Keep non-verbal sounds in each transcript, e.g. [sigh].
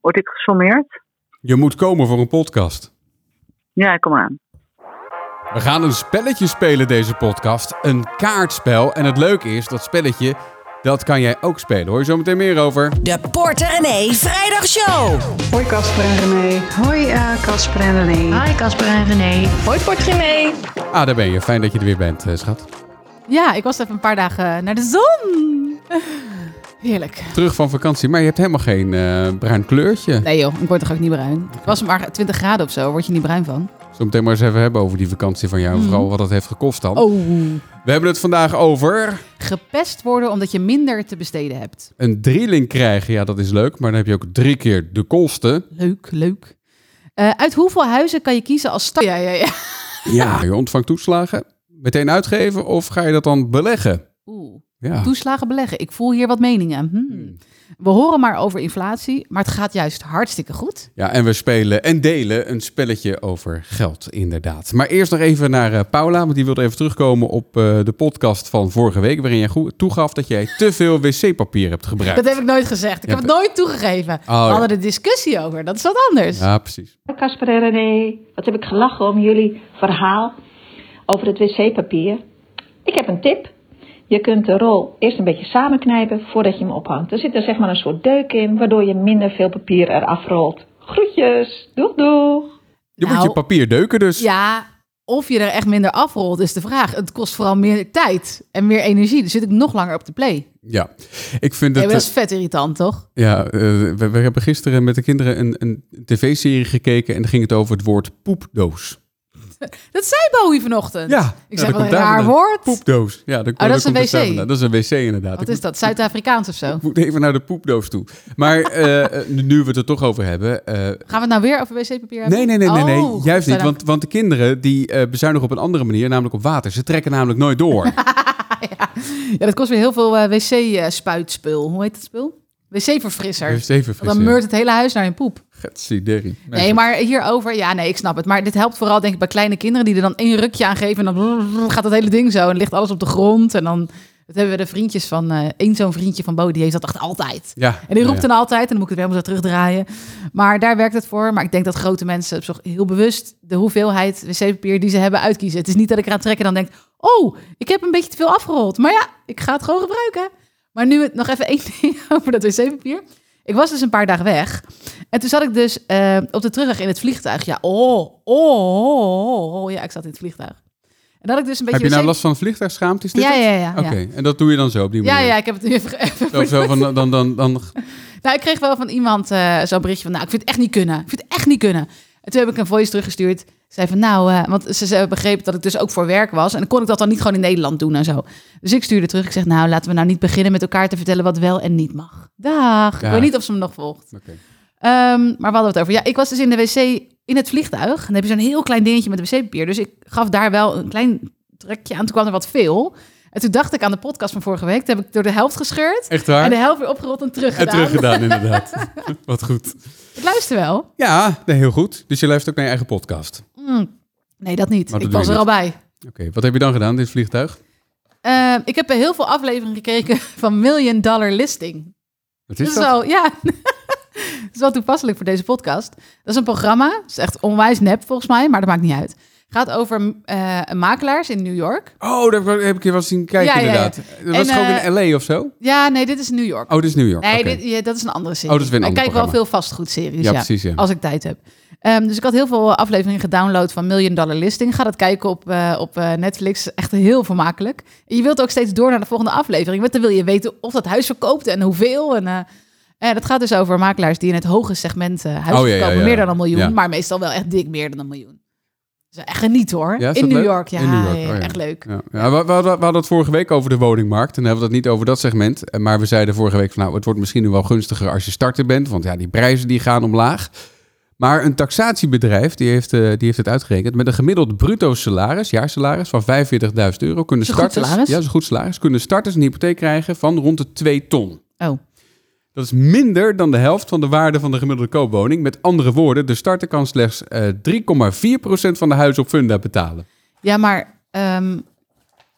Word ik gesommeerd? Je moet komen voor een podcast. Ja, kom aan. We gaan een spelletje spelen deze podcast. Een kaartspel. En het leuke is, dat spelletje, dat kan jij ook spelen. Hoor je zo meteen meer over. De Porter René Vrijdagshow. Hoi Casper en René. Hoi Casper en René. Hi Casper en René. Hoi Portrimé. Ah, daar ben je. Fijn dat je er weer bent, eh, schat. Ja, ik was even een paar dagen eh, naar de zon. [laughs] Heerlijk. Terug van vakantie, maar je hebt helemaal geen eh, bruin kleurtje. Nee joh, ik word toch ook niet bruin. Het was maar 20 graden of zo, word je niet bruin van. Zometeen maar eens even hebben over die vakantie van jou. Vooral wat dat heeft gekost dan. Mhm. Oh. We hebben het vandaag over Gepest worden omdat je minder te besteden hebt. een drielink krijgen. Ja, dat is leuk. Maar dan heb je ook drie keer de kosten. Leuk, leuk. Eh, uit hoeveel huizen kan je kiezen als stad? Ja, ja, ja. Ja. Je ontvangt toeslagen. Meteen uitgeven of ga je dat dan beleggen? Oeh. Ja. Toeslagen beleggen. Ik voel hier wat meningen. Hmm. We horen maar over inflatie, maar het gaat juist hartstikke goed. Ja, en we spelen en delen een spelletje over geld, inderdaad. Maar eerst nog even naar eh, Paula, want die wilde even terugkomen op eh, de podcast van vorige week, waarin jij goed toegaf dat jij te veel wc-papier hebt gebruikt. Dat heb ik nooit gezegd. Ik Ja, Oh, heb het nooit toegegeven. We ja. hadden er discussie over. Dat is wat anders. Ja, precies. Hoi Casper en René, wat heb ik gelachen om jullie verhaal over het wc-papier. Ik heb een tip. Je kunt de rol eerst een beetje samenknijpen voordat je hem ophangt. Er zit er zeg maar een soort deuk in, waardoor je minder veel papier eraf rolt. Groetjes, doeg doeg! Je moet Nou. je papier deuken dus. Ja, of je er echt minder afrolt is de vraag. Het kost vooral meer tijd en meer energie. Dan zit ik nog langer op de play. Nee, Ja. Ik vind maar het... Dat, is vet irritant, toch? eh, ja, eh, we, we hebben gisteren met de kinderen een, een tv-serie gekeken en dan ging het over het woord poepdoos. Dat zei Bowie vanochtend. Ja. Ik dat zeg wel komt een daar raar vandaan. woord. Oh, Poepdoos. Ja, dat, dat is een komt het wc. vandaan. Dat is een wc inderdaad. Wat Ik is dat? Zuid-Afrikaans of zo? Gaan Ik [laughs] moet even naar de poepdoos toe. Maar eh, eh, nu we het er toch over hebben. eh, we het nou weer over wc-papier hebben? nee, nee, nee, nee, nee. juist Oh, niet. godzijdank. Want, want de kinderen die eh, bezuinigen op een andere manier, namelijk op water. Ze trekken namelijk nooit [laughs] door. Ja, dat kost weer heel veel eh, wc-spuitspul. Hoe heet dat spul? Wc-verfrisser. Heeft even Want Dan meurt het hele huis naar je poep. Getsideri. Nee, maar hierover... Ja, nee, ik snap het. Maar dit helpt vooral denk ik bij kleine kinderen... die er dan één rukje aan geven... en dan gaat dat hele ding zo. En dan ligt alles op de grond. En dan dat hebben we de vriendjes van... eh één zo'n vriendje van Bo, die heeft dat echt altijd. Ja. En die roept ja. dan altijd... en dan moet ik het weer helemaal zo terugdraaien. Maar daar werkt het voor. Maar ik denk dat grote mensen op zich heel bewust... de hoeveelheid wc-papier die ze hebben uitkiezen. Het is niet dat ik eraan trek en dan denk... oh, ik heb een beetje te veel afgerold. Maar ja, ik ga het gewoon gebruiken. Maar nu het- nog even één [laughs] ding over dat wc-papier. Ik was dus een paar dagen weg. En toen zat ik dus eh, op de terugweg in het vliegtuig. Ja, oh, oh, oh, oh. ja, ik zat in het vliegtuig. En dat ik dus een beetje... Heb je nou wc last van vliegtuigschaamte? Is dit Ja, het? ja, ja, ja. Oké, en dat doe je dan zo op die Ja, manier? ja, ik heb het nu even... even Zo, zo van, dan, dan, dan, [laughs] dan- Nou, ik kreeg wel van iemand eh, zo'n berichtje van... Nou, ik vind het echt niet kunnen. Ik vind het echt niet kunnen. En toen heb ik een voice teruggestuurd. Zei van, nou... eh, want ze, ze hebben begrepen dat ik dus ook voor werk was. En dan kon ik dat dan niet gewoon in Nederland doen en zo. Dus ik stuurde terug. Ik zeg, nou, laten we nou niet beginnen met elkaar te vertellen... wat wel en niet mag. Dag. Ik Dag. weet niet of ze me nog volgt. Oké. Ehm, maar we hadden het over. Ja, ik was dus in de wc in het vliegtuig. En dan heb je zo'n heel klein dingetje met wc-papier. Dus ik gaf daar wel een klein trekje aan. Toen kwam er wat veel. En toen dacht ik aan de podcast van vorige week. Toen heb ik door de helft gescheurd. Echt waar? En de helft weer opgerold en En teruggedaan. [laughs] teruggedaan, inderdaad. Wat goed. Ik luister wel. Ja, nee, heel goed. Dus je luistert ook naar je eigen podcast. Nee, dat niet. Maar dat ik doe was je er al niet. bij. Oké, wat heb je dan gedaan in dit vliegtuig? Eh, ik heb heel veel afleveringen gekeken [laughs] van Million Dollar Listing. Wat is dat is dat? wel, ja. [laughs] dat is wel toepasselijk voor deze podcast. Dat is een programma. Dat is echt onwijs nep volgens mij, maar dat maakt niet uit. gaat over eh, makelaars in New York. Oh, daar heb ik- heb ik je wel eens zien kijken, Ja, ja, ja. inderdaad. Dat was En, gewoon eh, in L.A. of zo? Ja, nee, dit is New York. Oh, dit is New York. Nee, Oké. dit, ja, dat is een andere serie. Oh, dat is weer een ik ander kijk wel veel programma. vastgoedseries, Ja, ja, precies, ja. als ik tijd heb. Ehm, dus ik had heel veel afleveringen gedownload van Million Dollar Listing. Ga dat kijken op, eh, op eh, Netflix. Echt heel vermakelijk. En je wilt ook steeds door naar de volgende aflevering. Want dan wil je weten of dat huis verkoopt en hoeveel. En, eh eh, dat gaat dus over makelaars die in het hoge segment eh huis Oh, ja, ja, verkopen. ja. Meer dan een miljoen, Ja. maar meestal wel echt dik meer dan een miljoen. Dus echt geniet hoor. Ja, is in, dat New leuk? York, ja, In New York, ja, oh, ja. Echt leuk. Ja, ja, we, we hadden, we hadden het vorige week over de woningmarkt. En dan hebben we dat niet over dat segment. Eh, Maar we zeiden vorige week van nou, het wordt misschien nu wel gunstiger als je starter bent. Want ja, die prijzen die gaan omlaag. Maar een taxatiebedrijf, die heeft, eh, die heeft het uitgerekend, met een gemiddeld bruto salaris, jaarsalaris van 45.000 euro, kunnen Is een goed starters, salaris? ja, is een goed salaris, kunnen starters een hypotheek krijgen van rond de 2 ton. Oh, Dat is minder dan de helft van de waarde van de gemiddelde koopwoning. Met andere woorden, de starter kan slechts eh, 3,4% van de huis op funda betalen. Ja, maar ehm,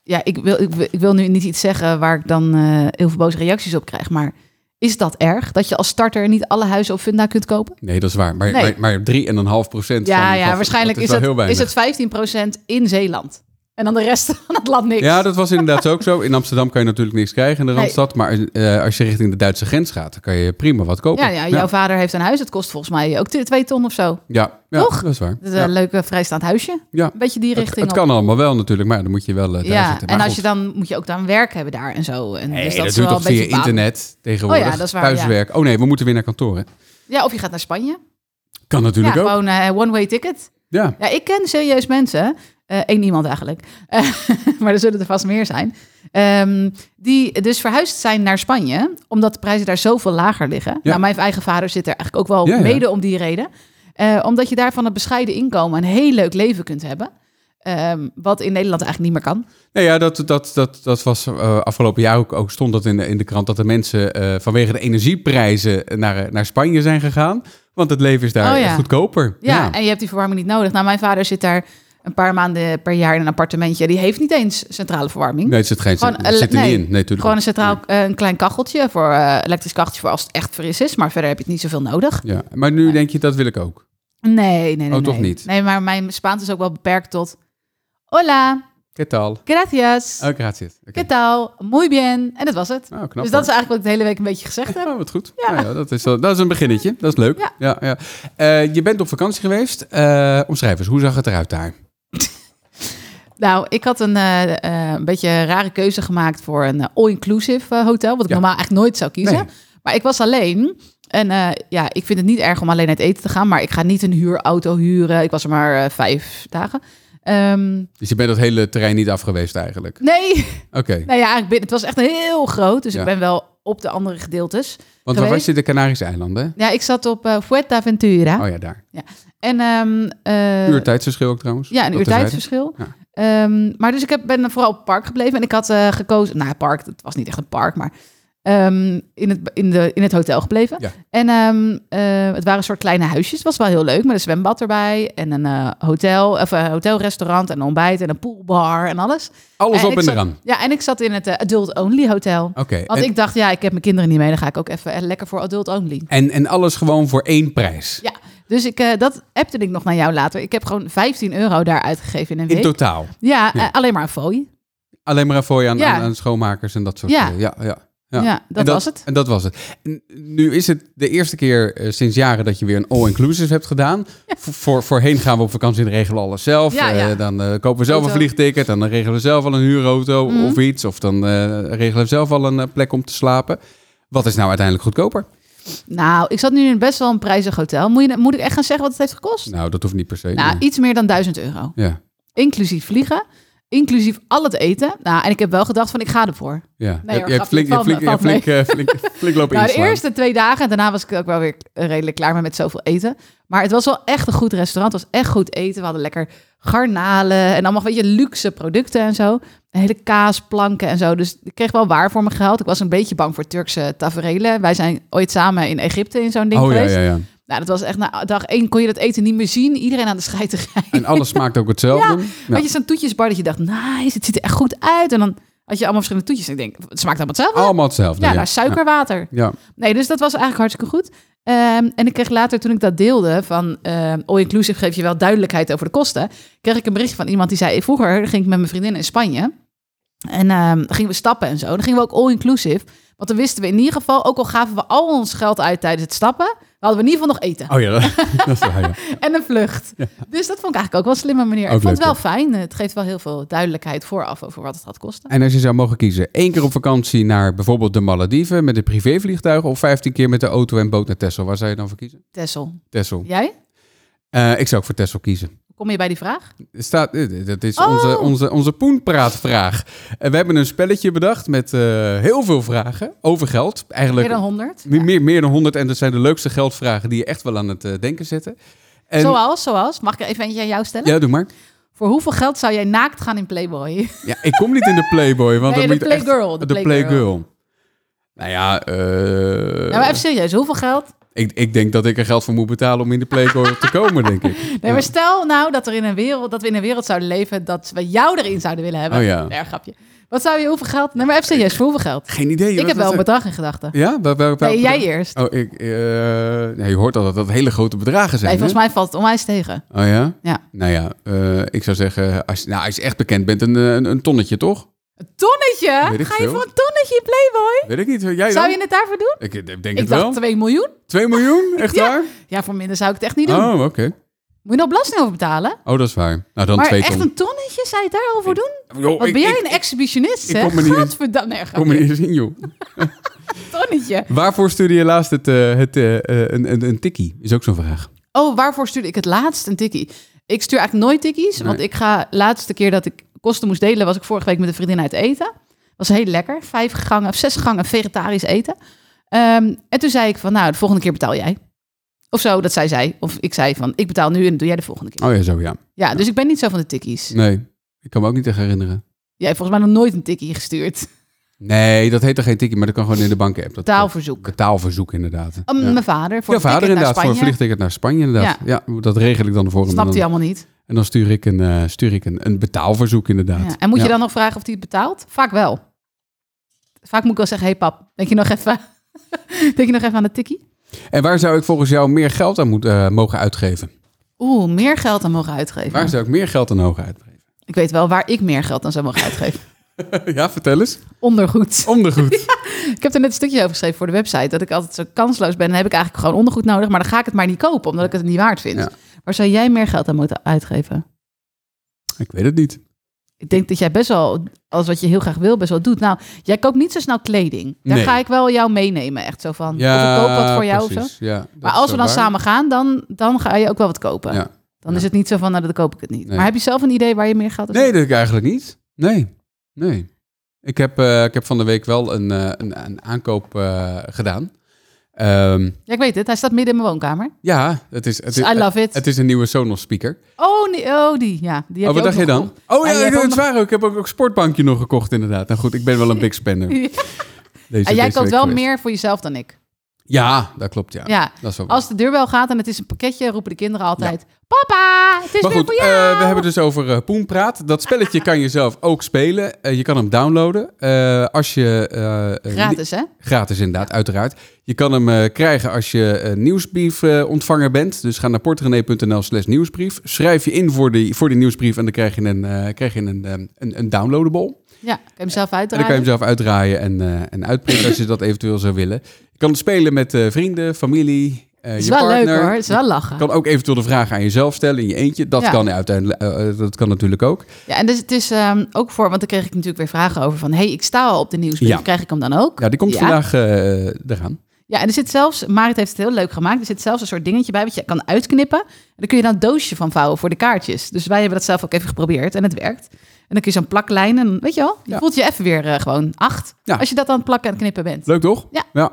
ja, ik, wil, ik, wil, ik wil nu niet iets zeggen waar ik dan eh, heel veel boze reacties op krijg. Maar Is dat erg dat je als starter niet alle huizen op Funda kunt kopen? Nee, dat is waar. Maar, Nee. maar, maar 3,5 procent Ja, van, ja van- waarschijnlijk dat is, wel heel het, weinig. is het 15% in Zeeland. En dan de rest van het land niks. Ja, dat was inderdaad ook zo. In Amsterdam kan je natuurlijk niks krijgen in de Nee. Randstad. Maar eh, als je richting de Duitse grens gaat, dan kan je prima wat kopen. ja, ja, jouw vader heeft een huis. Het kost volgens mij ook t- twee ton of zo. Ja, ja, Toch? dat is waar. Dat is Ja. Een leuke vrijstaand huisje. Ja. Een beetje die Het, richting het op. kan allemaal wel natuurlijk, maar dan moet je wel eh, daar Ja, zitten. Maar en als goed. je dan moet je ook dan werk hebben daar en zo. En Nee, dus dat, dat, is doe je wel toch een beetje via balen. internet tegenwoordig. Oh ja, dat is waar, Thuiswerk. Oh nee, we moeten weer naar kantoor. Hè? Ja, of je gaat naar Spanje. Kan Ja, natuurlijk ook. gewoon eh, one-way ticket. Ja. Ja, ik ken serieus mensen. eh één iemand eigenlijk. [laughs] Eh, maar er zullen er vast meer zijn. Ehm, die dus verhuisd zijn naar Spanje. Omdat de prijzen daar zoveel lager liggen. Nou, mijn eigen vader zit er eigenlijk ook wel Ja, ja. mede om die reden. Eh, omdat je daar van een bescheiden inkomen een heel leuk leven kunt hebben. Ehm, wat in Nederland eigenlijk niet meer kan. Nee, Nou ja, dat, dat, dat, dat was eh, afgelopen jaar ook, ook stond dat in de, in de krant. Dat de mensen eh, vanwege de energieprijzen naar, eh, naar Spanje zijn gegaan. Want het leven is daar Oh ja. eh, goedkoper. Ja, en je hebt die verwarming niet nodig. Nou, mijn vader zit daar een paar maanden per jaar in een appartementje. Die heeft niet eens centrale verwarming. Nee, het zit, geen, Gewoon, het zit er eh, nee, niet in. Nee, tuurlijk Gewoon een niet. centraal, eh, een klein kacheltje voor eh, elektrisch kacheltje voor als het echt fris is, maar verder heb je het niet zoveel nodig. Ja, maar nu denk je, dat wil ik ook. Nee, nee, nee. Oh, toch nee. niet? Nee, maar mijn Spaans is ook wel beperkt tot hola, ¿Qué tal? gracias, Oh, gracias. Oké. qué tal, muy bien. En dat was het. Oh, knap, dus hoor. dat is eigenlijk wat ik de hele week een beetje gezegd heb. Oh, wat goed. Ja. ja, dat, is, wel- dat is een beginnetje. Dat is leuk. Ja. Ja. Ja, Eh, je bent op vakantie geweest. Eh omschrijf eens, hoe zag het eruit daar? Nou, ik had een, eh, eh, een beetje een rare keuze gemaakt voor een eh, all-inclusive eh, hotel. Wat ik Ja. normaal eigenlijk nooit zou kiezen. Nee. Maar ik was alleen. En eh, ja, ik vind het niet erg om alleen uit eten te gaan. Maar ik ga niet een huurauto huren. Ik was er maar eh, vijf dagen. Ehm, Dus je bent dat hele terrein niet afgeweest eigenlijk. nee, [laughs] nou Oké, ja, eigenlijk binnen, het was echt heel groot. Dus Ja. ik ben wel op de andere gedeeltes. want waar was geweest. je? De Canarische eilanden, Ja, ik zat op eh Fuerteventura. hè? Oh ja, daar. En ehm, eh, Uurtijdsverschil ook trouwens. Ja, een Dat uur terzijde. tijdsverschil. Ja. Ehm, maar dus ik heb, ben vooral op het park gebleven. En ik had eh, gekozen... Nou, het park, het was niet echt een park, maar... ehm, in, het, in, de, in het hotel gebleven. Ja. En ehm, eh, het waren een soort kleine huisjes. Het was wel heel leuk, met een zwembad erbij. En een eh, hotel, of een hotelrestaurant en een ontbijt en een poolbar en alles. Alles en op ik en zat- eraan. Ja, en ik zat in het eh, Adult Only Hotel. Oké, Want en, ik dacht, ja, ik heb mijn kinderen niet mee. Dan ga ik ook even eh, lekker voor Adult Only. en, en alles gewoon voor één prijs. Ja, dus ik, eh, dat appte ik nog naar jou later. Ik heb gewoon 15 euro daar uitgegeven in een In week. totaal. Ja, Ja. eh, alleen maar een fooi. Alleen maar voor je aan, Ja. aan, aan schoonmakers en dat soort Ja. dingen. Ja, ja. Ja, En dat, was het. En dat was het. En nu is het de eerste keer eh, sinds jaren dat je weer een all-inclusive hebt gedaan. Voor, voor, voorheen gaan we op vakantie en regelen alles zelf. Ja, ja. Eh, dan eh, kopen we zelf Auto. Mhm. een vliegticket. Dan regelen we zelf al een huurauto of iets. Of dan eh, regelen we zelf al een eh, plek om te slapen. Wat is nou uiteindelijk goedkoper? Nou, ik zat nu in best wel een prijzig hotel. Moet, je, moet ik echt gaan zeggen wat het heeft gekost? Nou, dat hoeft niet per se. Nou, Nee. iets meer dan 1000 euro. ja, Inclusief vliegen, inclusief al het eten. Nou, en ik heb wel gedacht van ik ga ervoor. ja. Nee, je, hoor, je hebt grapje. flink, je hebt Valt flink, me- je hebt valt flink, eh, flink, flink lopen Nou, de inslaan. eerste twee dagen en daarna was ik ook wel weer eh, redelijk klaar met, met zoveel eten. Maar het was wel echt een goed restaurant. Het was echt goed eten. We hadden lekker garnalen en allemaal, weet je, luxe producten en zo. En hele kaasplanken en zo. Dus ik kreeg wel waar voor mijn geld. Ik was een beetje bang voor Turkse taferelen. Wij zijn ooit samen in Egypte in zo'n ding Oh ja, geweest. ja, ja. Nou, dat was echt na dag één kon je dat eten niet meer zien. Iedereen aan de scheiterij. En alles smaakt ook hetzelfde. [laughs] Had je zo'n toetjesbar dat je dacht, nice, het ziet er echt goed uit. En dan had je allemaal verschillende toetjes. En ik denk, het smaakt allemaal hetzelfde. Allemaal hetzelfde. ja, nou, naar suikerwater. Oh, Ja. Nee, dus dat was eigenlijk hartstikke goed. Ehm, en ik kreeg later, toen ik dat deelde, van ehm all inclusive geef je wel duidelijkheid over de kosten. Kreeg ik een berichtje van iemand die zei, vroeger ging ik met mijn vriendin in Spanje. En ehm, gingen we stappen en zo. Dan gingen we ook all inclusive. Want dan wisten we in ieder geval, ook al gaven we al ons geld uit tijdens het stappen, dan hadden we in ieder geval nog eten. Oh ja, [laughs] dat, [laughs] dat is waar, ja. En een vlucht. Dus dat vond ik eigenlijk ook wel een slimme manier. Ook ik vond het wel leuk, fijn. Het geeft wel heel veel duidelijkheid vooraf over wat het gaat kosten. En als je zou mogen kiezen, één keer op vakantie naar bijvoorbeeld de Malediven met een privévliegtuig of 15 keer met de auto en boot naar Texel, waar zou je dan voor kiezen? Tessel, Texel. jij? Eh, ik zou ook voor Texel kiezen. Kom je bij die vraag? Er Staat, eh, dat is Oh. onze, onze, onze poenpraatvraag. En we hebben een spelletje bedacht met eh, heel veel vragen over geld. Eigenlijk Meer dan 100? meer, meer, meer dan 100 en dat zijn de leukste geldvragen die je echt wel aan het eh, denken zetten. En, Zoals, zoals. Mag ik er even eentje aan jou stellen? Ja, Eh. doe maar. Voor hoeveel geld zou jij naakt gaan in [laughs] Playboy? Ja, ik kom niet in de Playboy, want Nee, dan de moet je echt- Playgirl, De, de Playgirl. Nou ja, eh, Nou, maar even serieus. Hoeveel geld? Ik, ik denk dat ik er geld voor moet betalen om in de Playboy te komen, denk ik. [laughs] Nee, maar stel nou dat, er in een wereld, dat we in een wereld zouden leven dat we jou erin zouden willen hebben. Oh ja. Nee, grapje. Wat zou je hoeveel geld? Nee, maar FCS, voor hoeveel [laughs] geld? Geen idee. Ik wat- heb wel wat- een bedrag in gedachten. Ja? Waar- waar- waar- Nee, jij eerst. Oh, ik... eh, nee, je hoort al dat dat hele grote bedragen zijn, Nee, volgens hè? mij valt het onwijs tegen. Oh ja? Ja. Nou ja, eh, ik zou zeggen, als, nou, als je echt bekend bent, een, eh, een, een tonnetje, toch? Een tonnetje? Weet ik Ga je veel. voor een tonnetje in Playboy? Weet ik niet. Jij Zou dan? je het daarvoor doen? Ik eh, denk Ik het dacht wel. 2 miljoen. 2 miljoen? Echt Ja. waar? Ja, voor minder zou ik het echt niet doen. Oh, oké. Moet je nog belasting over betalen? Oh, dat is waar. Nou, dan Maar twee echt ton. een tonnetje, zou je het daar al voor doen? Joh, Wat ik- ben jij ik- een exhibitionist, ik hè? kom er niet in. Gadverdamme. Nee, Kom grapje. er niet eens in, joh. tonnetje. Waarvoor stuurde je laatst het, eh, het, eh, eh, een, een, een tikkie? Is ook zo'n vraag. Oh, waarvoor stuurde ik het laatst een tikkie? Ik stuur eigenlijk nooit tikkies, want ik ga laatste keer dat ik kosten moest delen, was ik vorige week met een vriendin uit eten. Was heel lekker, vijf gangen of zes gangen vegetarisch eten. Ehm, en toen zei ik van, nou, de volgende keer betaal jij. Of zo, dat zij zei. Of ik zei van, ik betaal nu en dat doe jij de volgende keer. Oh ja, zo ja. Ja, dus ik ben niet zo van de tikkies. Nee, ik kan me ook niet echt herinneren. Jij hebt volgens mij nog nooit een tikkie gestuurd. Nee, dat heet er geen tikkie, maar dat kan gewoon in de bank-app. Dat- Taalverzoek. Betaalverzoek, inderdaad. Oh, ja. Mijn vader. Voor Ja, vader een ticket inderdaad, naar voor een Spanje. vliegticket naar Spanje inderdaad. Ja. dat regel ik dan voor hem. en Snapt hij dan, allemaal niet. en dan stuur ik een, eh, stuur ik een, een betaalverzoek inderdaad. Ja, En moet je Ja. dan nog vragen of hij het betaalt? Vaak wel. Vaak moet ik wel zeggen, hey pap, denk je nog even, [laughs] denk je nog even aan de tikkie? En waar zou ik volgens jou meer geld aan moeten eh, mogen uitgeven? Oeh, meer geld aan mogen uitgeven. Waar zou ik meer geld aan mogen uitgeven? Ik weet wel waar ik meer geld aan zou mogen [laughs] uitgeven. ja, vertel eens. Oh. Ondergoed. Ondergoed. [laughs] Ik heb er net een stukje over geschreven voor de website. Dat ik altijd zo kansloos ben. Dan heb ik eigenlijk gewoon ondergoed nodig. Maar dan ga ik het maar niet kopen, omdat ik het niet waard vind. Ja. Waar zou jij meer geld aan moeten uitgeven? Ik weet het niet. Ik denk dat jij best wel, als wat je heel graag wil, best wel doet. Nou, jij koopt niet zo snel kleding. Daar Nee. ga ik wel jou meenemen. Echt zo van, Ja, of ik koop wat voor jou of zo. precies. Ja, dat Maar is als we wel dan waar. samen gaan, dan, dan ga je ook wel wat kopen. Ja. Dan ja. is het niet zo van, nou, dan koop ik het niet. Nee. Maar heb je zelf een idee waar je meer geld aan Nee, zet? dat ik eigenlijk niet. Nee, nee. Ik heb, eh, ik heb van de week wel een, eh, een, een aankoop eh, gedaan. Ehm, Ja, ik weet het. Hij staat midden in mijn woonkamer. ja, het is, het, Dus is, I love it. het is een nieuwe Sonos speaker. Oh, nee, oh, die. Ja, die heb Oh, wat ook dacht je nog dan? gekocht. Oh Ja, ja, je hebt dat ook is nog- waar ook. Ik heb ook een sportbankje nog gekocht inderdaad. Nou goed, ik ben wel [laughs] een big spender. Deze, En deze Ah, jij koopt week wel geweest. meer voor jezelf dan ik. Ja, dat klopt ja. Ja. Dat is wel waar. Als de deurbel gaat en het is een pakketje, roepen de kinderen altijd... Papa, het is Maar weer goed, voor jou. eh, we hebben dus over eh, Poenpraat. Dat spelletje kan je zelf [laughs] ook spelen. Eh, je kan hem downloaden. Eh, als je, eh, eh, ni- Gratis, hè? gratis inderdaad, uiteraard. Je kan hem eh, krijgen als je eh, nieuwsbrief eh, ontvanger bent. Dus ga naar portrenee.nl slash nieuwsbrief. Schrijf je in voor die, voor die nieuwsbrief en dan krijg je een, eh, krijg je een, ehm, een, een downloadable. Ja, kan je hem zelf dus- En dan uitdragen. kan je hem zelf uitdraaien en, eh en uitprinten als je dat eventueel zou willen. Je kan het spelen met eh, vrienden, familie, eh Het is je wel partner. leuk, hoor. Het is wel lachen. Je kan ook eventueel de vraag aan jezelf stellen in je eentje. Dat Ja. kan uiteindelijk, eh, eh, dat kan natuurlijk ook. Ja, en dus het is ehm, ook voor... Want dan kreeg ik natuurlijk weer vragen over van... hey, ik sta al op de nieuwsbrief. Ja. Krijg ik hem dan ook? Ja, die komt Ja. vandaag eh, eraan. Ja, en er zit zelfs, Marit heeft het heel leuk gemaakt. Er zit zelfs een soort dingetje bij wat je kan uitknippen. En dan kun je dan een doosje van vouwen voor de kaartjes. Dus wij hebben dat zelf ook even geprobeerd en het werkt. En dan kun je zo'n plaklijn en weet je wel, je Ja. voelt je even weer eh, gewoon acht. Ja. Als je dat aan het plakken en knippen bent. Leuk toch? Ja. ja.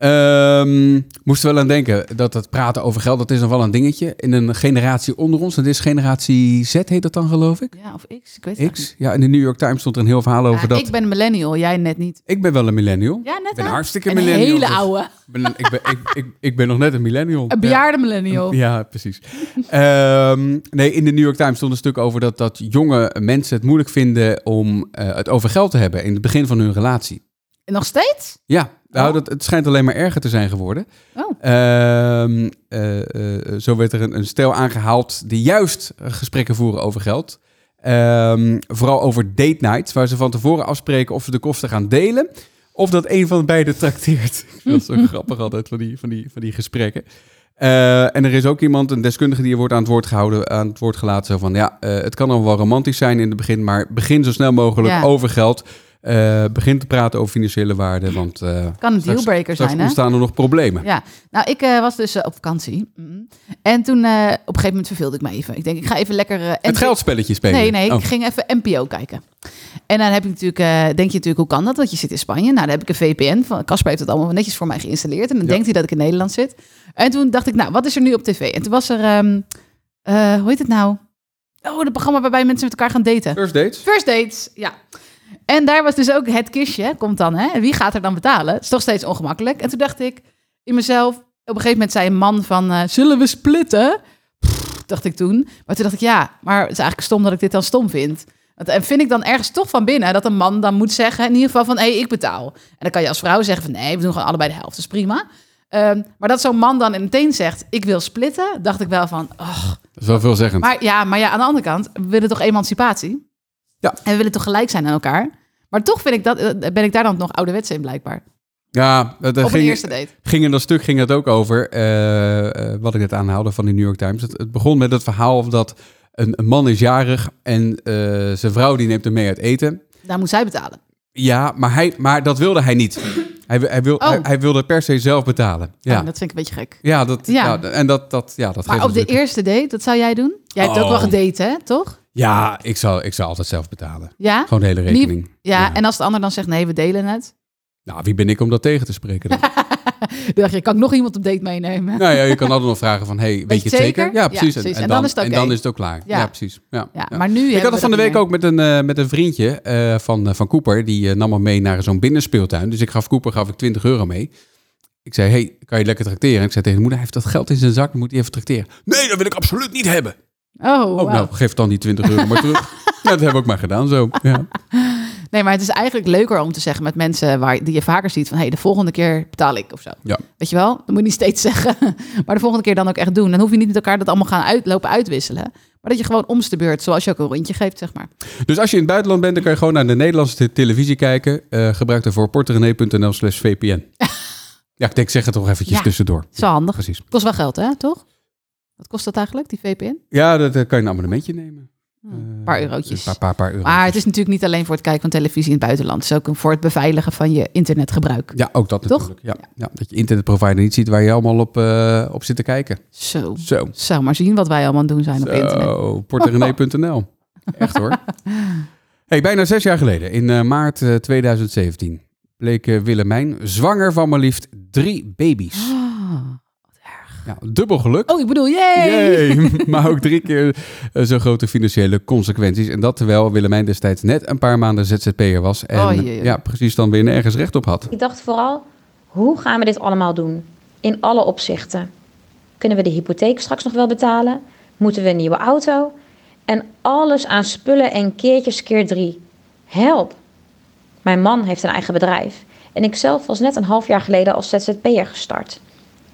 Ehm, moest er wel aan denken dat het praten over geld, dat is nog wel een dingetje. In een generatie onder ons, dat is generatie Z heet dat dan geloof ik? Ja, of X, ik weet het X? Ja, in de New York Times stond er een heel verhaal over niet. Ja, dat. Ik ben een millennial, jij net niet. Ik ben wel een millennial. Ja, net Ik ben een wel. hartstikke Een millennial. hele dus oude. ik ben- ik, ben, ik, ik, ik ben nog net een millennial. Een Ja. bejaarde millennial. Ja, precies. [laughs] Ehm, nee, in de New York Times stond een stuk over dat, dat jonge mensen het moeilijk vinden om eh, het over geld te hebben in het begin van hun relatie. En nog steeds? Ja, nou, Oh. dat, het schijnt alleen maar erger te zijn geworden. Oh. Ehm, eh, eh, zo werd er een, een stel aangehaald die juist eh, gesprekken voeren over geld. Ehm, vooral over date nights, waar ze van tevoren afspreken of ze de kosten gaan delen. Of dat een van beiden trakteert. [laughs] Ik vind dat [laughs] zo grappig altijd van die, van die, van die gesprekken. Eh, en er is ook iemand, een deskundige, die wordt aan het woord gehouden, aan het woord gelaten. Zo van ja, eh, het kan allemaal wel romantisch zijn in het begin, maar begin zo snel mogelijk Ja. over geld. Eh, begin te praten over financiële waarden, want eh, Kan een straks- dealbreaker straks zijn, hè? ontstaan er nog problemen. Ja, nou, ik eh, was dus eh, op vakantie. Mhm. En toen, eh, op een gegeven moment verveelde ik me even. Ik denk, ik ga even lekker... eh, Het NPO geldspelletje spelen. Nee, nee, Oh, ik ging even NPO kijken. En dan heb ik natuurlijk, eh, denk je natuurlijk, hoe kan dat? Want je zit in Spanje. Nou, dan heb ik een VPN. Van, Casper heeft het allemaal netjes voor mij geïnstalleerd. En dan Ja. denkt hij dat ik in Nederland zit. En toen dacht ik, nou, wat is er nu op tv? En toen was er, ehm, eh, hoe heet het nou? Oh, het programma waarbij mensen met elkaar gaan daten. First dates? First dates, ja. En daar was dus ook het kistje, komt dan, hè? En wie gaat er dan betalen? Het is toch steeds ongemakkelijk. En toen dacht ik in mezelf, Op een gegeven moment zei een man van, eh, zullen we splitten? Pff, dacht ik toen. Maar toen dacht ik, ja, maar het is eigenlijk stom dat ik dit dan stom vind. Want, en vind ik dan ergens toch van binnen dat een man dan moet zeggen, in ieder geval van, hé, hey, ik betaal. En dan kan je als vrouw zeggen van, nee, we doen gewoon allebei de helft, dat is prima. Ehm, maar dat zo'n man dan meteen zegt, ik wil splitten, dacht ik wel van, ach, Dat is wel veelzeggend. maar ja, maar ja, aan de andere kant, we willen toch emancipatie? Ja. En we willen toch gelijk zijn aan elkaar? Maar toch vind ik dat, eh, ben ik daar dan nog ouderwets in, blijkbaar. ja, dat, dat Op een ging, eerste date. ging in dat stuk ging het ook over, eh, eh, wat ik net aanhaalde van de New York Times. Het, het begon met het verhaal dat een, een man is jarig en eh, zijn vrouw die neemt hem mee uit eten. Daar moet zij betalen. Ja, maar, hij, maar dat wilde hij niet. Hij, wi- hij, wil, Oh. hij, hij wilde per se zelf betalen. Ja. Ja, dat vind ik een beetje gek. ja, dat, ja. Ja. en dat, dat, ja, dat Maar geeft op de natuurlijk- eerste date, dat zou jij doen? Jij hebt ook Oh. wel gedate, hè? Toch? Ja, ik zou, ik zou altijd zelf betalen. Ja? Gewoon de hele Wie- rekening. ja, en als de ander dan zegt, nee, we delen het. Nou, wie ben ik om dat tegen te spreken? Dan? Dan dacht je, kan ik nog iemand op date meenemen? nou ja, je kan altijd nog vragen van, hey, weet, je het zeker? Ja, precies. precies. En dan is het en oké. dan is het ook klaar. Ja, Ja. precies. Ja. Ja, ja. maar nu ik hebben had we het van de dat week niet ook met een, eh, met een vriendje eh, van, eh, van Cooper. Die eh, nam me mee naar zo'n binnenspeeltuin. Dus ik gaf Cooper gaf ik 20 euro mee. Ik zei, hey, kan je lekker tracteren? Ik zei tegen de moeder, hij heeft dat geld in zijn zak, dan moet hij even tracteren. Nee, dat wil ik absoluut niet hebben. meer. Oh, Oh, wauw. nou, geef dan die 20 euro maar [laughs] terug. ja, dat heb ik ook maar gedaan zo. Ja. Nee, maar het is eigenlijk leuker om te zeggen met mensen waar, die je vaker ziet van hé, hey, de volgende keer betaal ik of zo. Ja. Weet je wel? Dat moet je niet steeds [laughs] zeggen. Maar de volgende keer dan ook echt doen. Dan hoef je niet met elkaar dat allemaal gaan uitlopen uitwisselen. Maar dat je gewoon omste beurt, zoals je ook een rondje geeft, zeg maar. Dus als je in het buitenland bent, dan kan je gewoon naar de Nederlandse te- televisie kijken. Eh, gebruik daarvoor porterenee.nl slash [laughs] vpn. ja, ik denk, ik zeg het toch eventjes Ja. tussendoor. Dat is wel handig. Precies. Kost wel geld, hè? Toch? Wat kost dat eigenlijk, die VPN? Ja, dat eh, kan je een abonnementje nemen. Een paar Eh, Een eurotjes. paar, paar, paar euro. Maar het is natuurlijk niet alleen voor het kijken van televisie in het buitenland. Het is ook een- voor het beveiligen van je internetgebruik. Ja, ook dat Toch? natuurlijk. Ja, ja, dat je internetprovider niet ziet waar je allemaal op, eh, op zit te kijken. Zo. Zo. Zou maar zien wat wij allemaal aan het doen zijn op internet. Zo, porterenee.nl. Echt [laughs] hoor. Hey, bijna zes jaar geleden, in eh, maart eh, 2017, bleek eh, Willemijn zwanger van maar liefst drie baby's. Ah. Ja, dubbel geluk. Oh, ik bedoel, yay! [laughs] Yay. maar ook drie keer eh, zo grote financiële consequenties. En dat terwijl Willemijn destijds net een paar maanden ZZP'er was. En Oh, jee, jee. ja, precies dan weer nergens recht op had. Ik dacht vooral, hoe gaan we dit allemaal doen? In alle opzichten. Kunnen we de hypotheek straks nog wel betalen? Moeten we een nieuwe auto? En alles aan spullen en keertjes keer drie. Help! Mijn man heeft een eigen bedrijf. En ik zelf was net een half jaar geleden als ZZP'er gestart.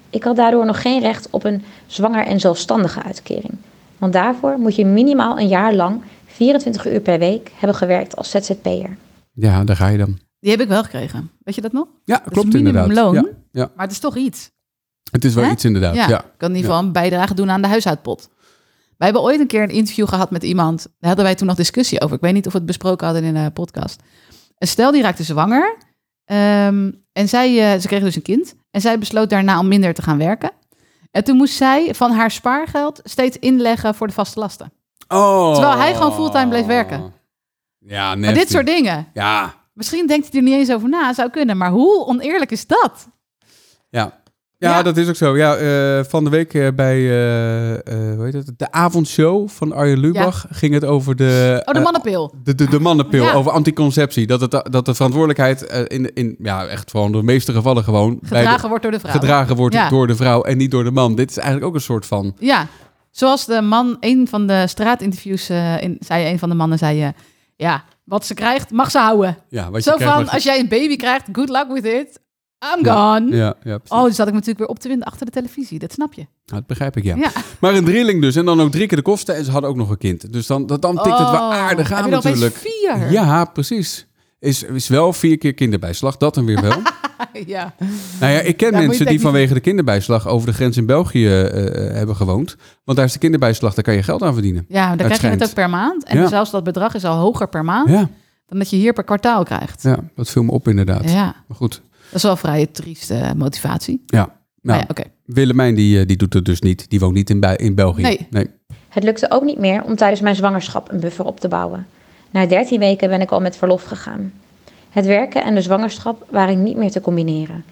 Ik had daardoor nog geen recht op een zwanger en zelfstandige uitkering. Want daarvoor moet je minimaal een jaar lang 24 uur per week hebben gewerkt als ZZP'er. Ja, daar ga je dan. Die heb ik wel gekregen. Weet je dat nog? Ja, is klopt inderdaad. minimumloon. Ja, ja, Maar het is toch iets. het is wel Hè? iets inderdaad. Ja, Ja. ik kan in ieder geval een bijdrage doen aan de huishoudpot. Wij hebben ooit een keer een interview gehad met iemand. Daar hadden wij toen nog discussie over. Ik weet niet of we het besproken hadden in een podcast. Een stel die raakte zwanger. ehm, en zij, eh, ze kreeg dus een kind. En zij besloot daarna om minder te gaan werken. En toen moest zij van haar spaargeld steeds inleggen voor de vaste lasten. Oh. Terwijl hij gewoon fulltime bleef werken. Ja, Maar dit nasty. soort dingen. Ja, Misschien denkt hij er niet eens over na. Zou kunnen. Maar hoe oneerlijk is dat? Ja. Ja, Ja. dat is ook zo. Ja, eh, van de week eh, bij eh, eh, hoe heet het? de avondshow van Arjen Lubach ging het over de, Oh, de eh, mannenpil. de, de, de mannenpil, Ja. over anticonceptie. Dat, het, dat de verantwoordelijkheid eh, in, in ja, echt gewoon door de meeste gevallen gewoon bij de- Gedragen wordt door de vrouw. gedragen wordt Ja. door de vrouw en niet door de man. Dit is eigenlijk ook een soort van... Ja, zoals de man, een van de straatinterviews, eh, in, zei een van de mannen, zei je, ja, wat ze krijgt, mag ze houden. Ja, wat je Zo krijgt van, met- als jij een baby krijgt, good luck with it, I'm Ja, gone. Ja, ja precies. Oh, dus zat ik me natuurlijk weer op te winden achter de televisie, dat snap je. Nou, dat begrijp ik, ja. Ja. Maar een drieling dus. En dan ook drie keer de kosten. En ze hadden ook nog een kind. Dus dan, dat, dan tikt het wel Oh, aardig heb aan je er opeens natuurlijk. vier? Ja, precies. Is, is wel vier keer kinderbijslag. Dat dan weer [laughs] wel. [laughs] ja. Nou ja, ik ken Daar moet je mensen denk die niet- vanwege de kinderbijslag over de grens in België eh, eh, hebben gewoond. Want daar is de kinderbijslag, daar kan je geld aan verdienen. ja, maar dan krijg je schijnt. het ook per maand. En Ja. zelfs dat bedrag is al hoger per maand Ja, dan dat je hier per kwartaal krijgt. ja dat viel me op inderdaad. Ja, Maar goed, dat is wel vrij trieste motivatie. ja. Nou, Nou, ja, oké. Willemijn die, eh, die doet het dus niet. Die woont niet in, Bui- in België. Nee. Het lukte ook niet meer om tijdens mijn zwangerschap een buffer op te bouwen. Na 13 weken ben ik al met verlof gegaan. Het werken en de zwangerschap waren niet meer te combineren.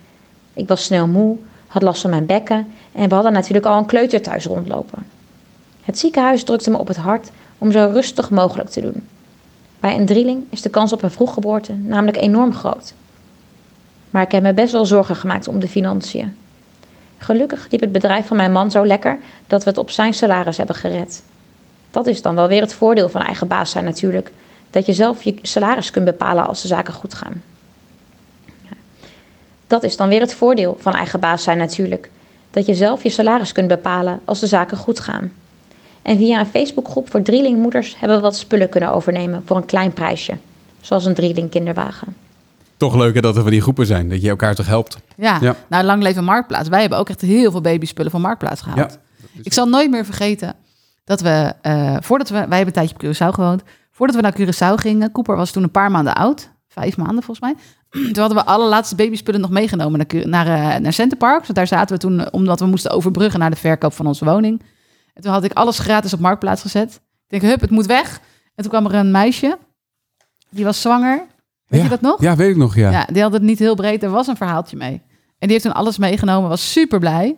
Ik was snel moe, had last van mijn bekken en we hadden natuurlijk al een kleuter thuis rondlopen. Het ziekenhuis drukte me op het hart om zo rustig mogelijk te doen. Bij een drieling is de kans op een vroeggeboorte namelijk enorm groot. Maar ik heb me best wel zorgen gemaakt om de financiën. Gelukkig liep het bedrijf van mijn man zo lekker dat we het op zijn salaris hebben gered. Dat is dan wel weer het voordeel van eigen baas zijn natuurlijk. Dat je zelf je salaris kunt bepalen als de zaken goed gaan. Dat is dan weer het voordeel van eigen baas zijn natuurlijk. Dat je zelf je salaris kunt bepalen als de zaken goed gaan. En via een Facebookgroep voor drielingmoeders hebben we wat spullen kunnen overnemen voor een klein prijsje. Zoals een drieling kinderwagen. Toch leuk hè, dat er van die groepen zijn. Dat je elkaar toch helpt. Ja. Ja. nou lang leven Marktplaats. Wij hebben ook echt heel veel babyspullen van Marktplaats gehaald. Ik zal nooit meer vergeten dat we, eh, voordat we, wij hebben een tijdje op Curaçao gewoond. Voordat we naar Curaçao gingen, Cooper was toen een paar maanden oud. Vijf maanden volgens mij. [clears throat] Toen hadden we alle laatste babyspullen nog meegenomen naar, Cu- naar, eh, naar Centerparks. Want daar zaten we toen, eh, omdat we moesten overbruggen naar de verkoop van onze woning. En toen had ik alles gratis op Marktplaats gezet. Ik denk, hup, het moet weg. En toen kwam er een meisje, die was zwanger. Weet Ja. je dat nog? Ja, weet ik nog, ja. Ja, die had het niet heel breed. Er was een verhaaltje mee. En die heeft toen alles meegenomen. Was super blij.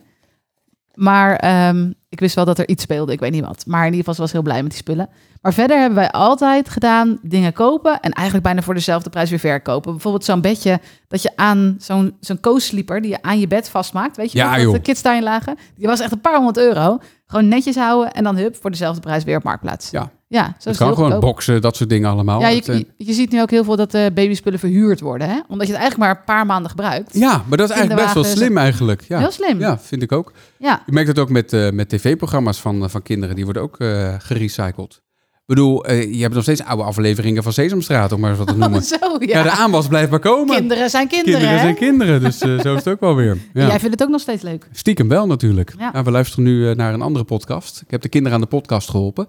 Maar ehm, ik wist wel dat er iets speelde. Ik weet niet wat. Maar in ieder geval ze was heel blij met die spullen. Maar verder hebben wij altijd gedaan dingen kopen. En eigenlijk bijna voor dezelfde prijs weer verkopen. Bijvoorbeeld zo'n bedje dat je aan zo'n zo'n co-sleeper die je aan je bed vastmaakt. Weet je Ja, nog, dat joh. de kids daarin lagen. Die was echt een paar honderd euro. Gewoon netjes houden en dan hup voor dezelfde prijs weer op Marktplaats. Ja. ja zo Dat is het kan heel gewoon goedkoop. boksen, dat soort dingen allemaal. Ja, Dat, eh, je, je, je ziet nu ook heel veel dat eh babyspullen verhuurd worden. Hè? Omdat je het eigenlijk maar een paar maanden gebruikt. ja, maar dat is eigenlijk best wel Kinderwagens. slim eigenlijk. Ja. Heel slim. Ja, vind ik ook. Ja. Je merkt het ook met, eh, met tv-programma's van, eh, van kinderen. Die worden ook eh, gerecycled. Ik bedoel, eh, je hebt nog steeds oude afleveringen van Sesamstraat, om maar eens wat [laughs] te noemen. Zo, ja. ja. de aanwas blijft maar komen. kinderen zijn kinderen, Kinderen hè? zijn kinderen, dus eh, zo is het ook wel weer. Ja. [laughs] Jij vindt het ook nog steeds leuk. Stiekem wel natuurlijk. Ja. Nou, we luisteren nu eh, naar een andere podcast. Ik heb de kinderen aan de podcast geholpen.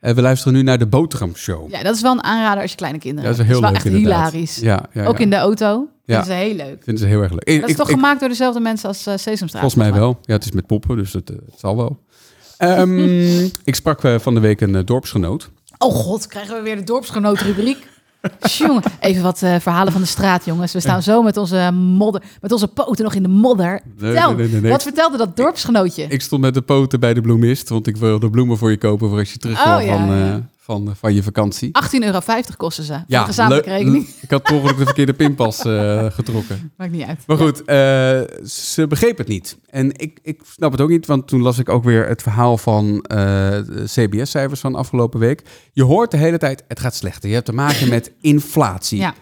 en we luisteren nu naar de Boterham Show. Ja, dat is wel een aanrader als je kleine kinderen dat is wel hebt. heel leuk echt inderdaad. hilarisch. Ja, ja, Ook ja. in de auto. Ja. Dat is heel leuk. Ik vind ze heel erg leuk. Dat is toch gemaakt door dezelfde mensen als eh, Sesamstraat? Volgens mij wel. Ja, het is met poppen, dus dat, eh, het zal wel. [laughs] Ehm, ik sprak eh, van de week een eh, dorpsgenoot. Oh god, krijgen we weer de [laughs] dorpsgenootrubriek. Jongen, even wat eh, verhalen van de straat, jongens. We staan zo met onze modder, met onze poten nog in de modder. Vertel, nee, nee, nee. wat vertelde dat dorpsgenootje? Ik stond met de poten bij de bloemist, want ik wilde bloemen voor je kopen voor als je terug Oh, wil ja, van, eh, ja. Oh, van, van je vakantie. 18,50 euro kosten ze. Ja, leuk. gezamenlijke rekening. Ik had per ongeluk de verkeerde pinpas eh, [laughs] getrokken. Maakt niet uit. Maar goed, eh, ze begreep het niet. En ik, ik snap het ook niet, want toen las ik ook weer het verhaal van eh, de CBS-cijfers van afgelopen week. Je hoort de hele tijd, het gaat slechter. Je hebt te maken met inflatie. Ja.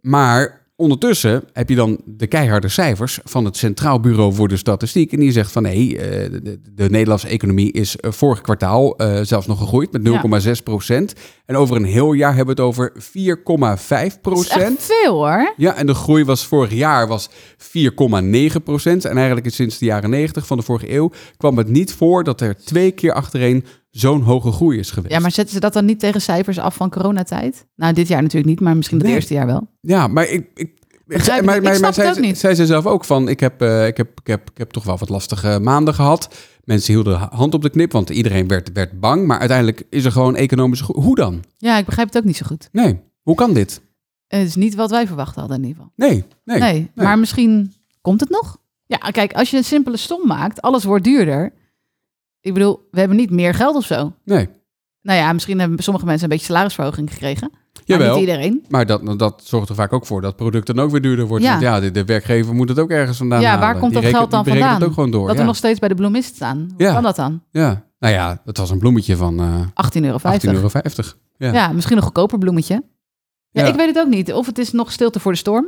Maar ondertussen heb je dan de keiharde cijfers van het Centraal Bureau voor de Statistiek. En die zegt van nee, eh, de, de- de Nederlandse economie is eh, vorig kwartaal eh, zelfs nog gegroeid met 0,6 procent. En over een heel jaar hebben we het over 4,5 Dat is procent. echt veel hoor. Ja, en de groei was vorig jaar was 4,9 procent. En eigenlijk is sinds de jaren 90 van de vorige eeuw kwam het niet voor dat er twee keer achtereen zo'n hoge groei is geweest. Ja, maar zetten ze dat dan niet tegen cijfers af van coronatijd? Nou, dit jaar natuurlijk niet, maar misschien het Nee. eerste jaar wel. Ja, maar ik. ik Begrijp ik. Ik snap het zij, ook niet. zij zei zelf ook van, ik heb, eh, ik, heb, ik, heb, ik heb toch wel wat lastige maanden gehad. Mensen hielden ha- hand op de knip, want iedereen werd, werd bang. Maar uiteindelijk is er gewoon economische groei. Hoe dan? Ja, ik begrijp het ook niet zo goed. Nee, hoe kan dit? Eh, Het is niet wat wij verwacht hadden in ieder geval. Nee, nee. Nee, maar misschien komt het nog. Ja, kijk, als je een simpele som maakt, alles wordt duurder. Ik bedoel, we hebben niet meer geld of zo. nee. Nou ja, misschien hebben sommige mensen een beetje salarisverhoging gekregen. Maar Jawel, Oh, niet iedereen. maar dat, dat zorgt er vaak ook voor dat product dan ook weer duurder wordt. Ja. Want ja, de, de werkgever moet het ook ergens vandaan ja, halen. waar komt Die dat reken- geld dan die berekent vandaan? het ook gewoon door. dat ja. we nog steeds bij de bloemist staan. Hoe Ja. kan dat dan? 18,50 ja. Nou ja, het was een bloemetje van eh 18,50 euro. euro. Ja. Ja, misschien een goedkoper bloemetje. Ja, Ja. Ik weet het ook niet. Of het is nog stilte voor de storm.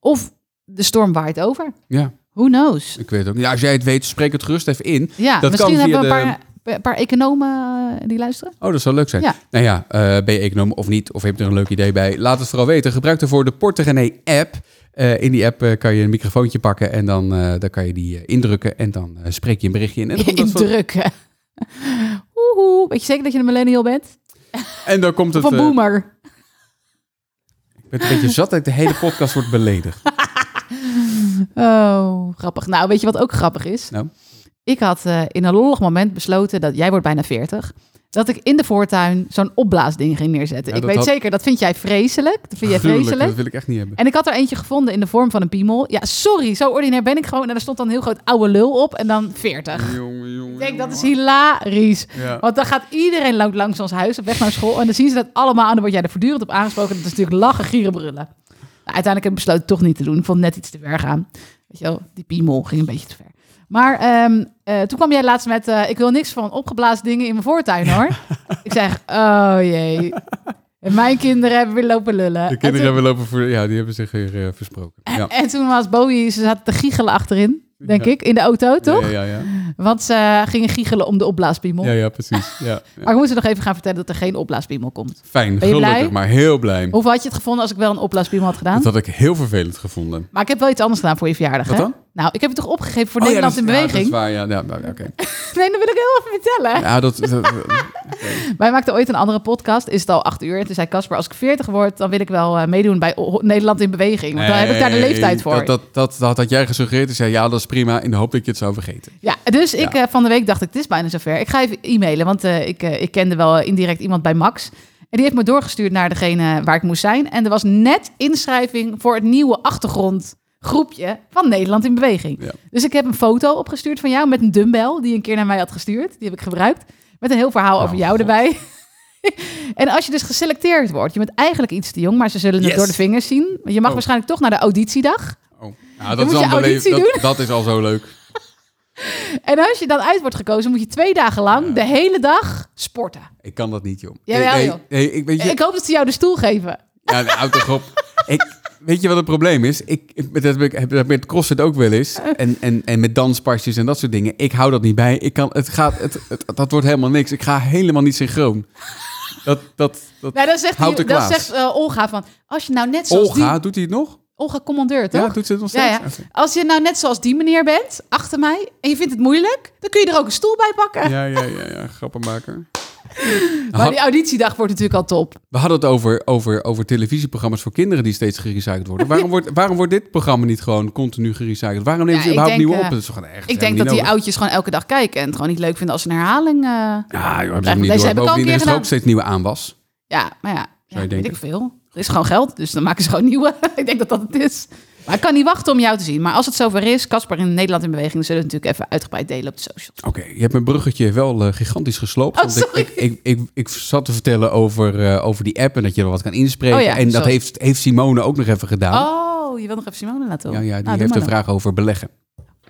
Of de storm waait over. Ja. Who knows? Ik weet het ook niet. Ja, als jij het weet, spreek het gerust even in. Ja, Dat misschien kan hebben we via een paar, een paar economen eh, die luisteren. Oh, dat zou leuk zijn. Ja. Nou ja, eh, ben je econoom of niet? Of heb je er een leuk idee bij? Laat het vooral weten. Gebruik daarvoor de Portegenee-app. Eh, in die app eh, kan je een microfoontje pakken en dan, eh, dan kan je die eh, indrukken. En dan eh, spreek je een berichtje in. En dan komt, [laughs] dat van- Indrukken. Oehoe. Weet je zeker dat je een millennial bent? en dan komt het... Of een eh, boomer? ik ben een beetje zat dat ik de hele podcast wordt beledigd. Oh, grappig. Nou, weet je wat ook grappig is? Nou. Ik had eh, in een lollig moment besloten dat jij wordt bijna 40. Dat ik in de voortuin zo'n opblaasding ging neerzetten. Ja, ik dat weet had- zeker, dat vind jij vreselijk. Dat vind jij Gruwelijk, vreselijk. dat wil ik echt niet hebben. En ik had er eentje gevonden in de vorm van een piemel. Ja, sorry, zo ordinair ben ik gewoon. En er stond dan een heel groot oude lul op en dan 40. Jongen, jongen, Ik denk, dat is hilarisch. Ja. Want dan gaat iedereen lang- langs ons huis op weg naar school. En dan zien ze dat allemaal. En dan word jij er voortdurend op aangesproken. Dat is natuurlijk lachen, gieren, brullen. Nou, uiteindelijk heb ik besloten toch niet te doen. Ik vond het net iets te ver gaan. Weet je wel, die piemel ging een beetje te ver. Maar ehm, eh, toen kwam jij laatst met, eh, ik wil niks van opgeblazen dingen in mijn voortuin [laughs] hoor. ik zeg, oh jee. En mijn kinderen hebben weer lopen lullen. De En toen- kinderen hebben lopen voor... Ja, die hebben zich weer eh, versproken. Ja. En toen was Bowie, ze zaten te giechelen achterin, denk Ja. ik, in de auto, toch? Ja, ja, ja. Want ze gingen giechelen om de opblaaspiemel. Ja, ja, precies. Ja, ja. Maar ik moet ze nog even gaan vertellen dat er geen opblaaspiemel komt. Fijn, Ben je blij? gelukkig, maar heel blij. Hoeveel had je het gevonden als ik wel een opblaaspiemel had gedaan? Dat had ik heel vervelend gevonden. Maar ik heb wel iets anders gedaan voor je verjaardag, Wat hè? dan? Nou, ik heb het toch opgegeven voor Oh, ja, dat is- Nederland ja, in dat is beweging? waar, ja. ja nou, ja, oké. nee, dat wil ik heel even vertellen. Ja, dat... eh, [laughs] dat- Wij maakten ooit een andere podcast, is het al acht uur. En toen zei Casper, als ik veertig word, dan wil ik wel eh, meedoen bij O- Nederland in beweging. Want dan heb ik daar de Nee, leeftijd voor. Dat, dat, dat, dat had jij gesuggereerd. Ik zei, ja, dat is prima. In de hoop dat je het zou vergeten. Ja, dus ik Ja. eh, van de week dacht ik, het is bijna zover. Ik ga even e-mailen, want eh, ik, eh, ik kende wel eh, indirect iemand bij Max. En die heeft me doorgestuurd naar degene waar ik moest zijn. En er was net inschrijving voor het nieuwe achtergrondgroepje van Nederland in Beweging. Ja. Dus ik heb een foto opgestuurd van jou met een dumbbell die je een keer naar mij had gestuurd. Die heb ik gebruikt. Met een heel verhaal over jou Oh, God. erbij. [laughs] en als je dus geselecteerd wordt, je bent eigenlijk iets te jong, maar ze zullen Yes. het door de vingers zien. Je mag Oh. waarschijnlijk toch naar de auditiedag. Oh. Ja, Dan dat, is moet je al beleef- auditie dat, dat is al zo leuk. En als je dan uit wordt gekozen, moet je twee dagen lang de hele dag sporten. Ik kan dat niet, joh. Jawel, nee, joh. nee, nee, ik weet je... Ik hoop dat ze jou de stoel geven. Ja, nou, houd toch op. Ik, weet je wat het probleem is? Ik, ik- dat heb ik heb dat met CrossFit ook wel eens. En, en, en met danspasjes en dat soort dingen. Ik hou dat niet bij. Ik kan, het gaat, het, het- dat wordt helemaal niks. Ik ga helemaal niet synchroon. Dat, dat, dat. Nou, dan zegt, Houd die, de dan Klaas. zegt eh, Olga van... Als je nou net zoals Olga, die... doet hij het nog? Olga commandeur, toch? Ja, doet ze het nog steeds? Ja, ja. [laughs] Oké. Als je nou net zoals die meneer bent, achter mij... en je vindt het moeilijk, dan kun je er ook een stoel bij pakken. Ja, ja, ja, ja, grappenmaker. Maar die auditiedag wordt natuurlijk al top. We hadden het over, over, over televisieprogramma's voor kinderen die steeds gerecycled worden. Waarom wordt, waarom wordt dit programma niet gewoon continu gerecycled? Waarom nemen Ja, ze ik überhaupt denk, nieuw op? eh, Dat is gewoon echt Ik denk dat die oudjes gewoon elke dag kijken... en het gewoon niet leuk vinden als een herhaling... eh, Ja, joh, hebben ze Deze hem niet heb ik al door. een Bovendien keer er is er gedaan. ook steeds nieuwe aanwas. Ja, maar ja, ja je weet denken. ik veel. Er is gewoon geld, dus dan maken ze gewoon nieuwe. [laughs] ik denk dat dat het is. Maar ik kan niet wachten om jou te zien. Maar als het zover is, Casper in Nederland in beweging... dan zullen we het natuurlijk even uitgebreid delen op de socials. Oké, je hebt mijn bruggetje wel eh, gigantisch gesloopt. Oh, want ik- sorry. Ik, ik, ik, ik zat te vertellen over, eh, over die app en dat je er wat kan inspreken. Oh ja, en dat sorry. heeft, heeft Simone ook nog even gedaan. Oh, je wil nog even Simone laten ja, horen. ja, die Nou, doe heeft maar een dan. vraag over beleggen.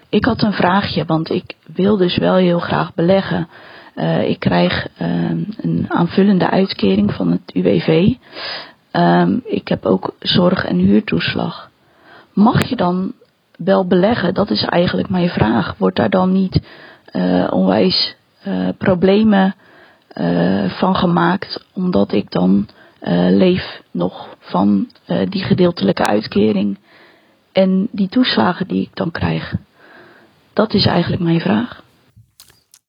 Ik had een vraagje, want ik wil dus wel heel graag beleggen. Eh, ik krijg ehm, een aanvullende uitkering van het UWV. Ehm, ik heb ook zorg- en huurtoeslag. Mag je dan wel beleggen? Dat is eigenlijk mijn vraag. Wordt daar dan niet eh, onwijs eh, problemen eh, van gemaakt, omdat ik dan eh, leef nog van eh, die gedeeltelijke uitkering en die toeslagen die ik dan krijg? Dat is eigenlijk mijn vraag.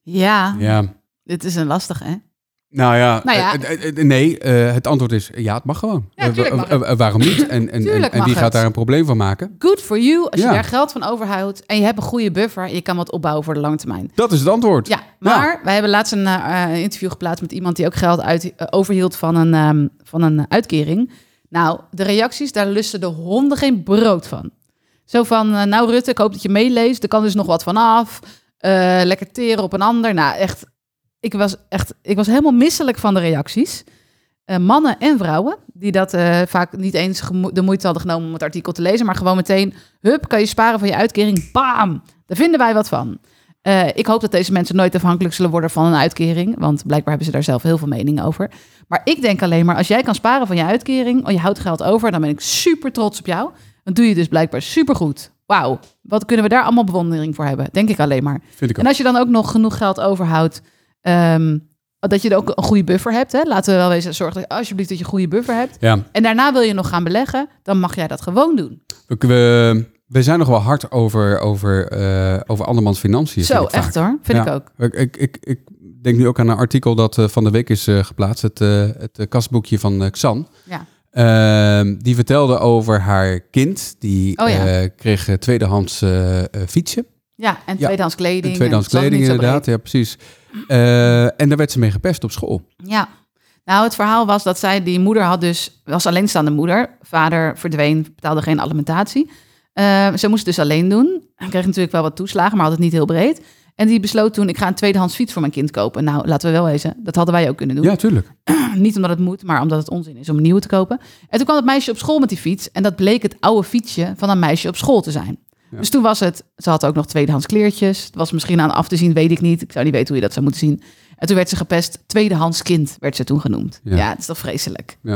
Ja, Ja. dit is een lastig, hè? Nou ja, Nou ja. eh, eh, eh, nee, eh, het antwoord is ja, het mag gewoon. Ja, tuurlijk Eh, wa- mag het. eh, eh, waarom niet? En, en, en, Tuurlijk en mag wie het. gaat daar een probleem van maken? Good for you als Ja. je daar geld van overhoudt en je hebt een goede buffer en je kan wat opbouwen voor de lange termijn. Dat is het antwoord. Ja, maar wij hebben laatst een eh, eh, interview geplaatst met iemand die ook geld uit, eh, overhield van een, ehm, van een uitkering. Nou, de reacties, daar lusten de honden geen brood van. Zo van, eh, nou Rutte, ik hoop dat je meeleest. Er kan dus nog wat vanaf. Eh lekker teren op een ander. Nou, echt ik, was echt, ik was helemaal misselijk van de reacties. Eh, mannen en vrouwen, die dat eh, vaak niet eens gemo- de moeite hadden genomen om het artikel te lezen. Maar gewoon meteen, hup, kan je sparen van je uitkering. Bam! Daar vinden wij wat van. Eh, ik hoop dat deze mensen nooit afhankelijk zullen worden van een uitkering. Want blijkbaar hebben ze daar zelf heel veel mening over. Maar ik denk alleen maar, als jij kan sparen van je uitkering. Oh, je houdt geld over. Dan ben ik super trots op jou. Dan doe je dus blijkbaar supergoed. Wauw, wat kunnen we daar allemaal bewondering voor hebben? Denk ik alleen maar. Vind ik ook. En als je dan ook nog genoeg geld overhoudt, ehm, dat je er ook een goede buffer hebt. Hè? Laten we wel wezen, zorg dat, alsjeblieft dat je een goede buffer hebt. Ja, En daarna wil je nog gaan beleggen, dan mag jij dat gewoon doen. we, we, we zijn nog wel hard over, over, eh, over andermans financiën. vind Zo, ik vaak. echt hoor. Vind Ja. ik ook. Ik, ik, ik, ik denk nu ook aan een artikel dat eh, van de week is eh, geplaatst. Het, eh, het eh, kastboekje van eh, Xan. Ja. Ehm, die vertelde over haar kind. Die Oh ja. eh, kreeg eh, tweedehands eh, eh, fietsen. Ja, en tweedehands kleding. en tweedehands het zag er kleding niet zo inderdaad. Ja, precies. Eh, en daar werd ze mee gepest op school. Ja. Nou, het verhaal was dat zij, die moeder had dus, was alleenstaande moeder. Vader verdween, betaalde geen alimentatie. Eh, ze moest het dus alleen doen. Hij kreeg natuurlijk wel wat toeslagen, maar had het niet heel breed. En die besloot toen, ik ga een tweedehands fiets voor mijn kind kopen. Nou, laten we wel wezen, dat hadden wij ook kunnen doen. Ja, tuurlijk. Niet omdat het moet, maar omdat het onzin is om een nieuwe te kopen. En toen kwam dat meisje op school met die fiets. En dat bleek het oude fietsje van een meisje op school te zijn. Dus toen was het, ze had ook nog tweedehands kleertjes. Het was misschien aan af te zien, weet ik niet. Ik zou niet weten hoe je dat zou moeten zien. En toen werd ze gepest, tweedehands kind werd ze toen genoemd. Ja. Ja, het is toch vreselijk. Ja.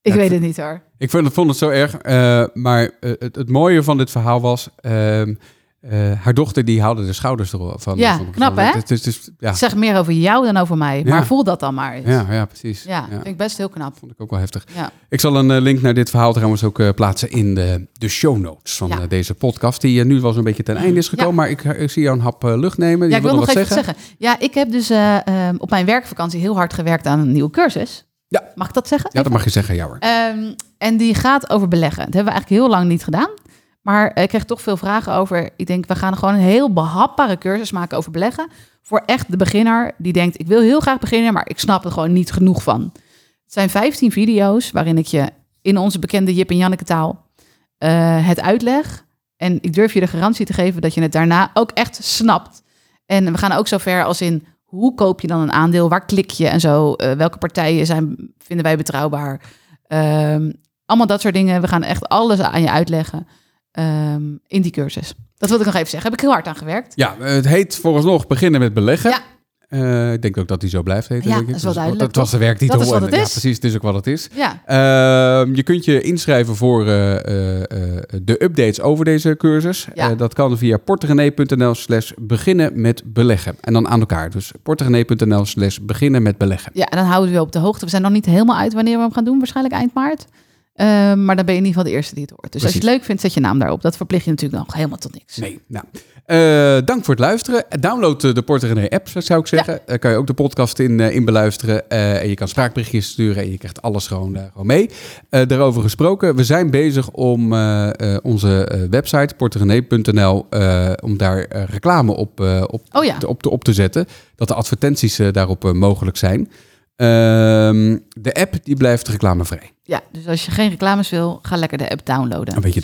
Ik Ja, weet het niet hoor. Ik vond, vond het zo erg. eh, maar eh, het, het mooie van dit verhaal was... ehm, eh, haar dochter die haalde de schouders ervan. van. Ja, van- knap, van- hè? Het is dus, ja, Ik zeg meer over jou dan over mij. Ja. Maar voel dat dan maar eens. Ja, ja, ja, precies. Ja. vind ik best heel knap. Vond ik ook wel heftig. Ja. Ik zal een eh, link naar dit verhaal trouwens ook eh, plaatsen in de, de show notes van Ja. eh, deze podcast. Die eh, nu wel zo'n beetje ten einde is gekomen. Ja. Maar ik, ik zie jou een hap eh, lucht nemen. Ja, Je ik wil wilde nog wat even zeggen. Ja, ik heb dus eh, ehm, op mijn werkvakantie heel hard gewerkt aan een nieuwe cursus. Ja. Mag ik dat zeggen? Ja, dat mag je zeggen, ja hoor. Ehm, en die gaat over beleggen. Dat hebben we eigenlijk heel lang niet gedaan. Maar eh, ik kreeg toch veel vragen over. Ik denk, we gaan gewoon een heel behapbare cursus maken over beleggen. Voor echt de beginner die denkt, ik wil heel graag beginnen, maar ik snap er gewoon niet genoeg van. Het zijn 15 video's waarin ik je in onze bekende Jip en Janneke taal eh, het uitleg. En ik durf je de garantie te geven dat je het daarna ook echt snapt. En we gaan ook zo ver als in, hoe koop je dan een aandeel? Waar klik je en zo? Eh, welke partijen zijn, vinden wij betrouwbaar? Ehm, allemaal dat soort dingen. We gaan echt alles aan je uitleggen ehm, in die cursus. Dat wilde ik nog even zeggen. Heb ik heel hard aan gewerkt. Ja, het heet vooralsnog beginnen met beleggen. Ja. Eh, ik denk ook dat die zo blijft heten. Ja, denk ik. dat is wel duidelijk, Dat was de werktitel. Dat is wat En, het Ja, is. precies, het is ook wat het is. Ja, Ehm, je kunt je inschrijven voor eh, eh, eh, de updates over deze cursus. Ja. Eh, dat kan via porterenee.nl slash beginnen met beleggen. En dan aan elkaar. Dus porterenee.nl slash beginnen met beleggen. ja en dan houden we je op de hoogte. We zijn nog niet helemaal uit wanneer we hem gaan doen. Waarschijnlijk eind maart. Ehm, maar dan ben je in ieder geval de eerste die het hoort. Dus als je Precies. het leuk vindt, zet je naam daarop. Dat verplicht je natuurlijk nog helemaal tot niks. Nee, nou. Eh, dank voor het luisteren. Download eh, de Porterenee app, zou ik zeggen. Daar kan je ook de podcast in, eh, in beluisteren. Eh, en je kan spraakberichtjes sturen en je krijgt alles gewoon, eh, gewoon mee. Eh, daarover gesproken, we zijn bezig om eh, eh, onze eh, website porterenee.nl eh, om daar eh, reclame op, eh, op, Oh ja. te, op, te, op te zetten. Dat de advertenties eh, daarop eh, mogelijk zijn. Ehm, de app die blijft reclamevrij. Ja, dus als je geen reclames wil, ga lekker de app Dan downloaden. weet je